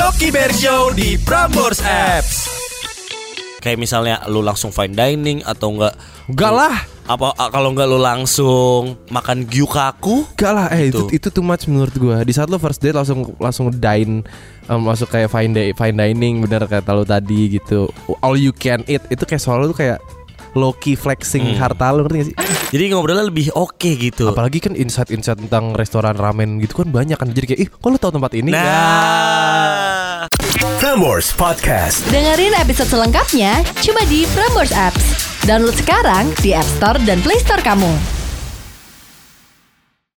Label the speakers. Speaker 1: Oki Bear Show di Prambors Apps.
Speaker 2: Kayak misalnya lu langsung fine dining atau enggak?
Speaker 3: Enggak lah.
Speaker 2: Apa a- kalau enggak lu langsung makan gyukaku?
Speaker 3: Enggak lah, eh itu
Speaker 2: Gitu.
Speaker 3: itu too much menurut gua. Di saat lo first date langsung langsung dine em, masuk kayak fine di- fine dining bener kata lo tadi gitu. All you can eat itu kayak soal lu tuh kayak low key flexing harta lo ngerti gak sih?
Speaker 2: Jadi ngobrolnya lebih oke gitu.
Speaker 3: Apalagi kan insight-insight tentang restoran ramen gitu kan banyak kan jadi kayak ih kok lo tahu tempat ini? Ya.
Speaker 2: Nah.
Speaker 1: Prambors Podcast.
Speaker 4: Dengerin episode selengkapnya cuma di Prambors Apps. Download sekarang di App Store dan Play Store kamu.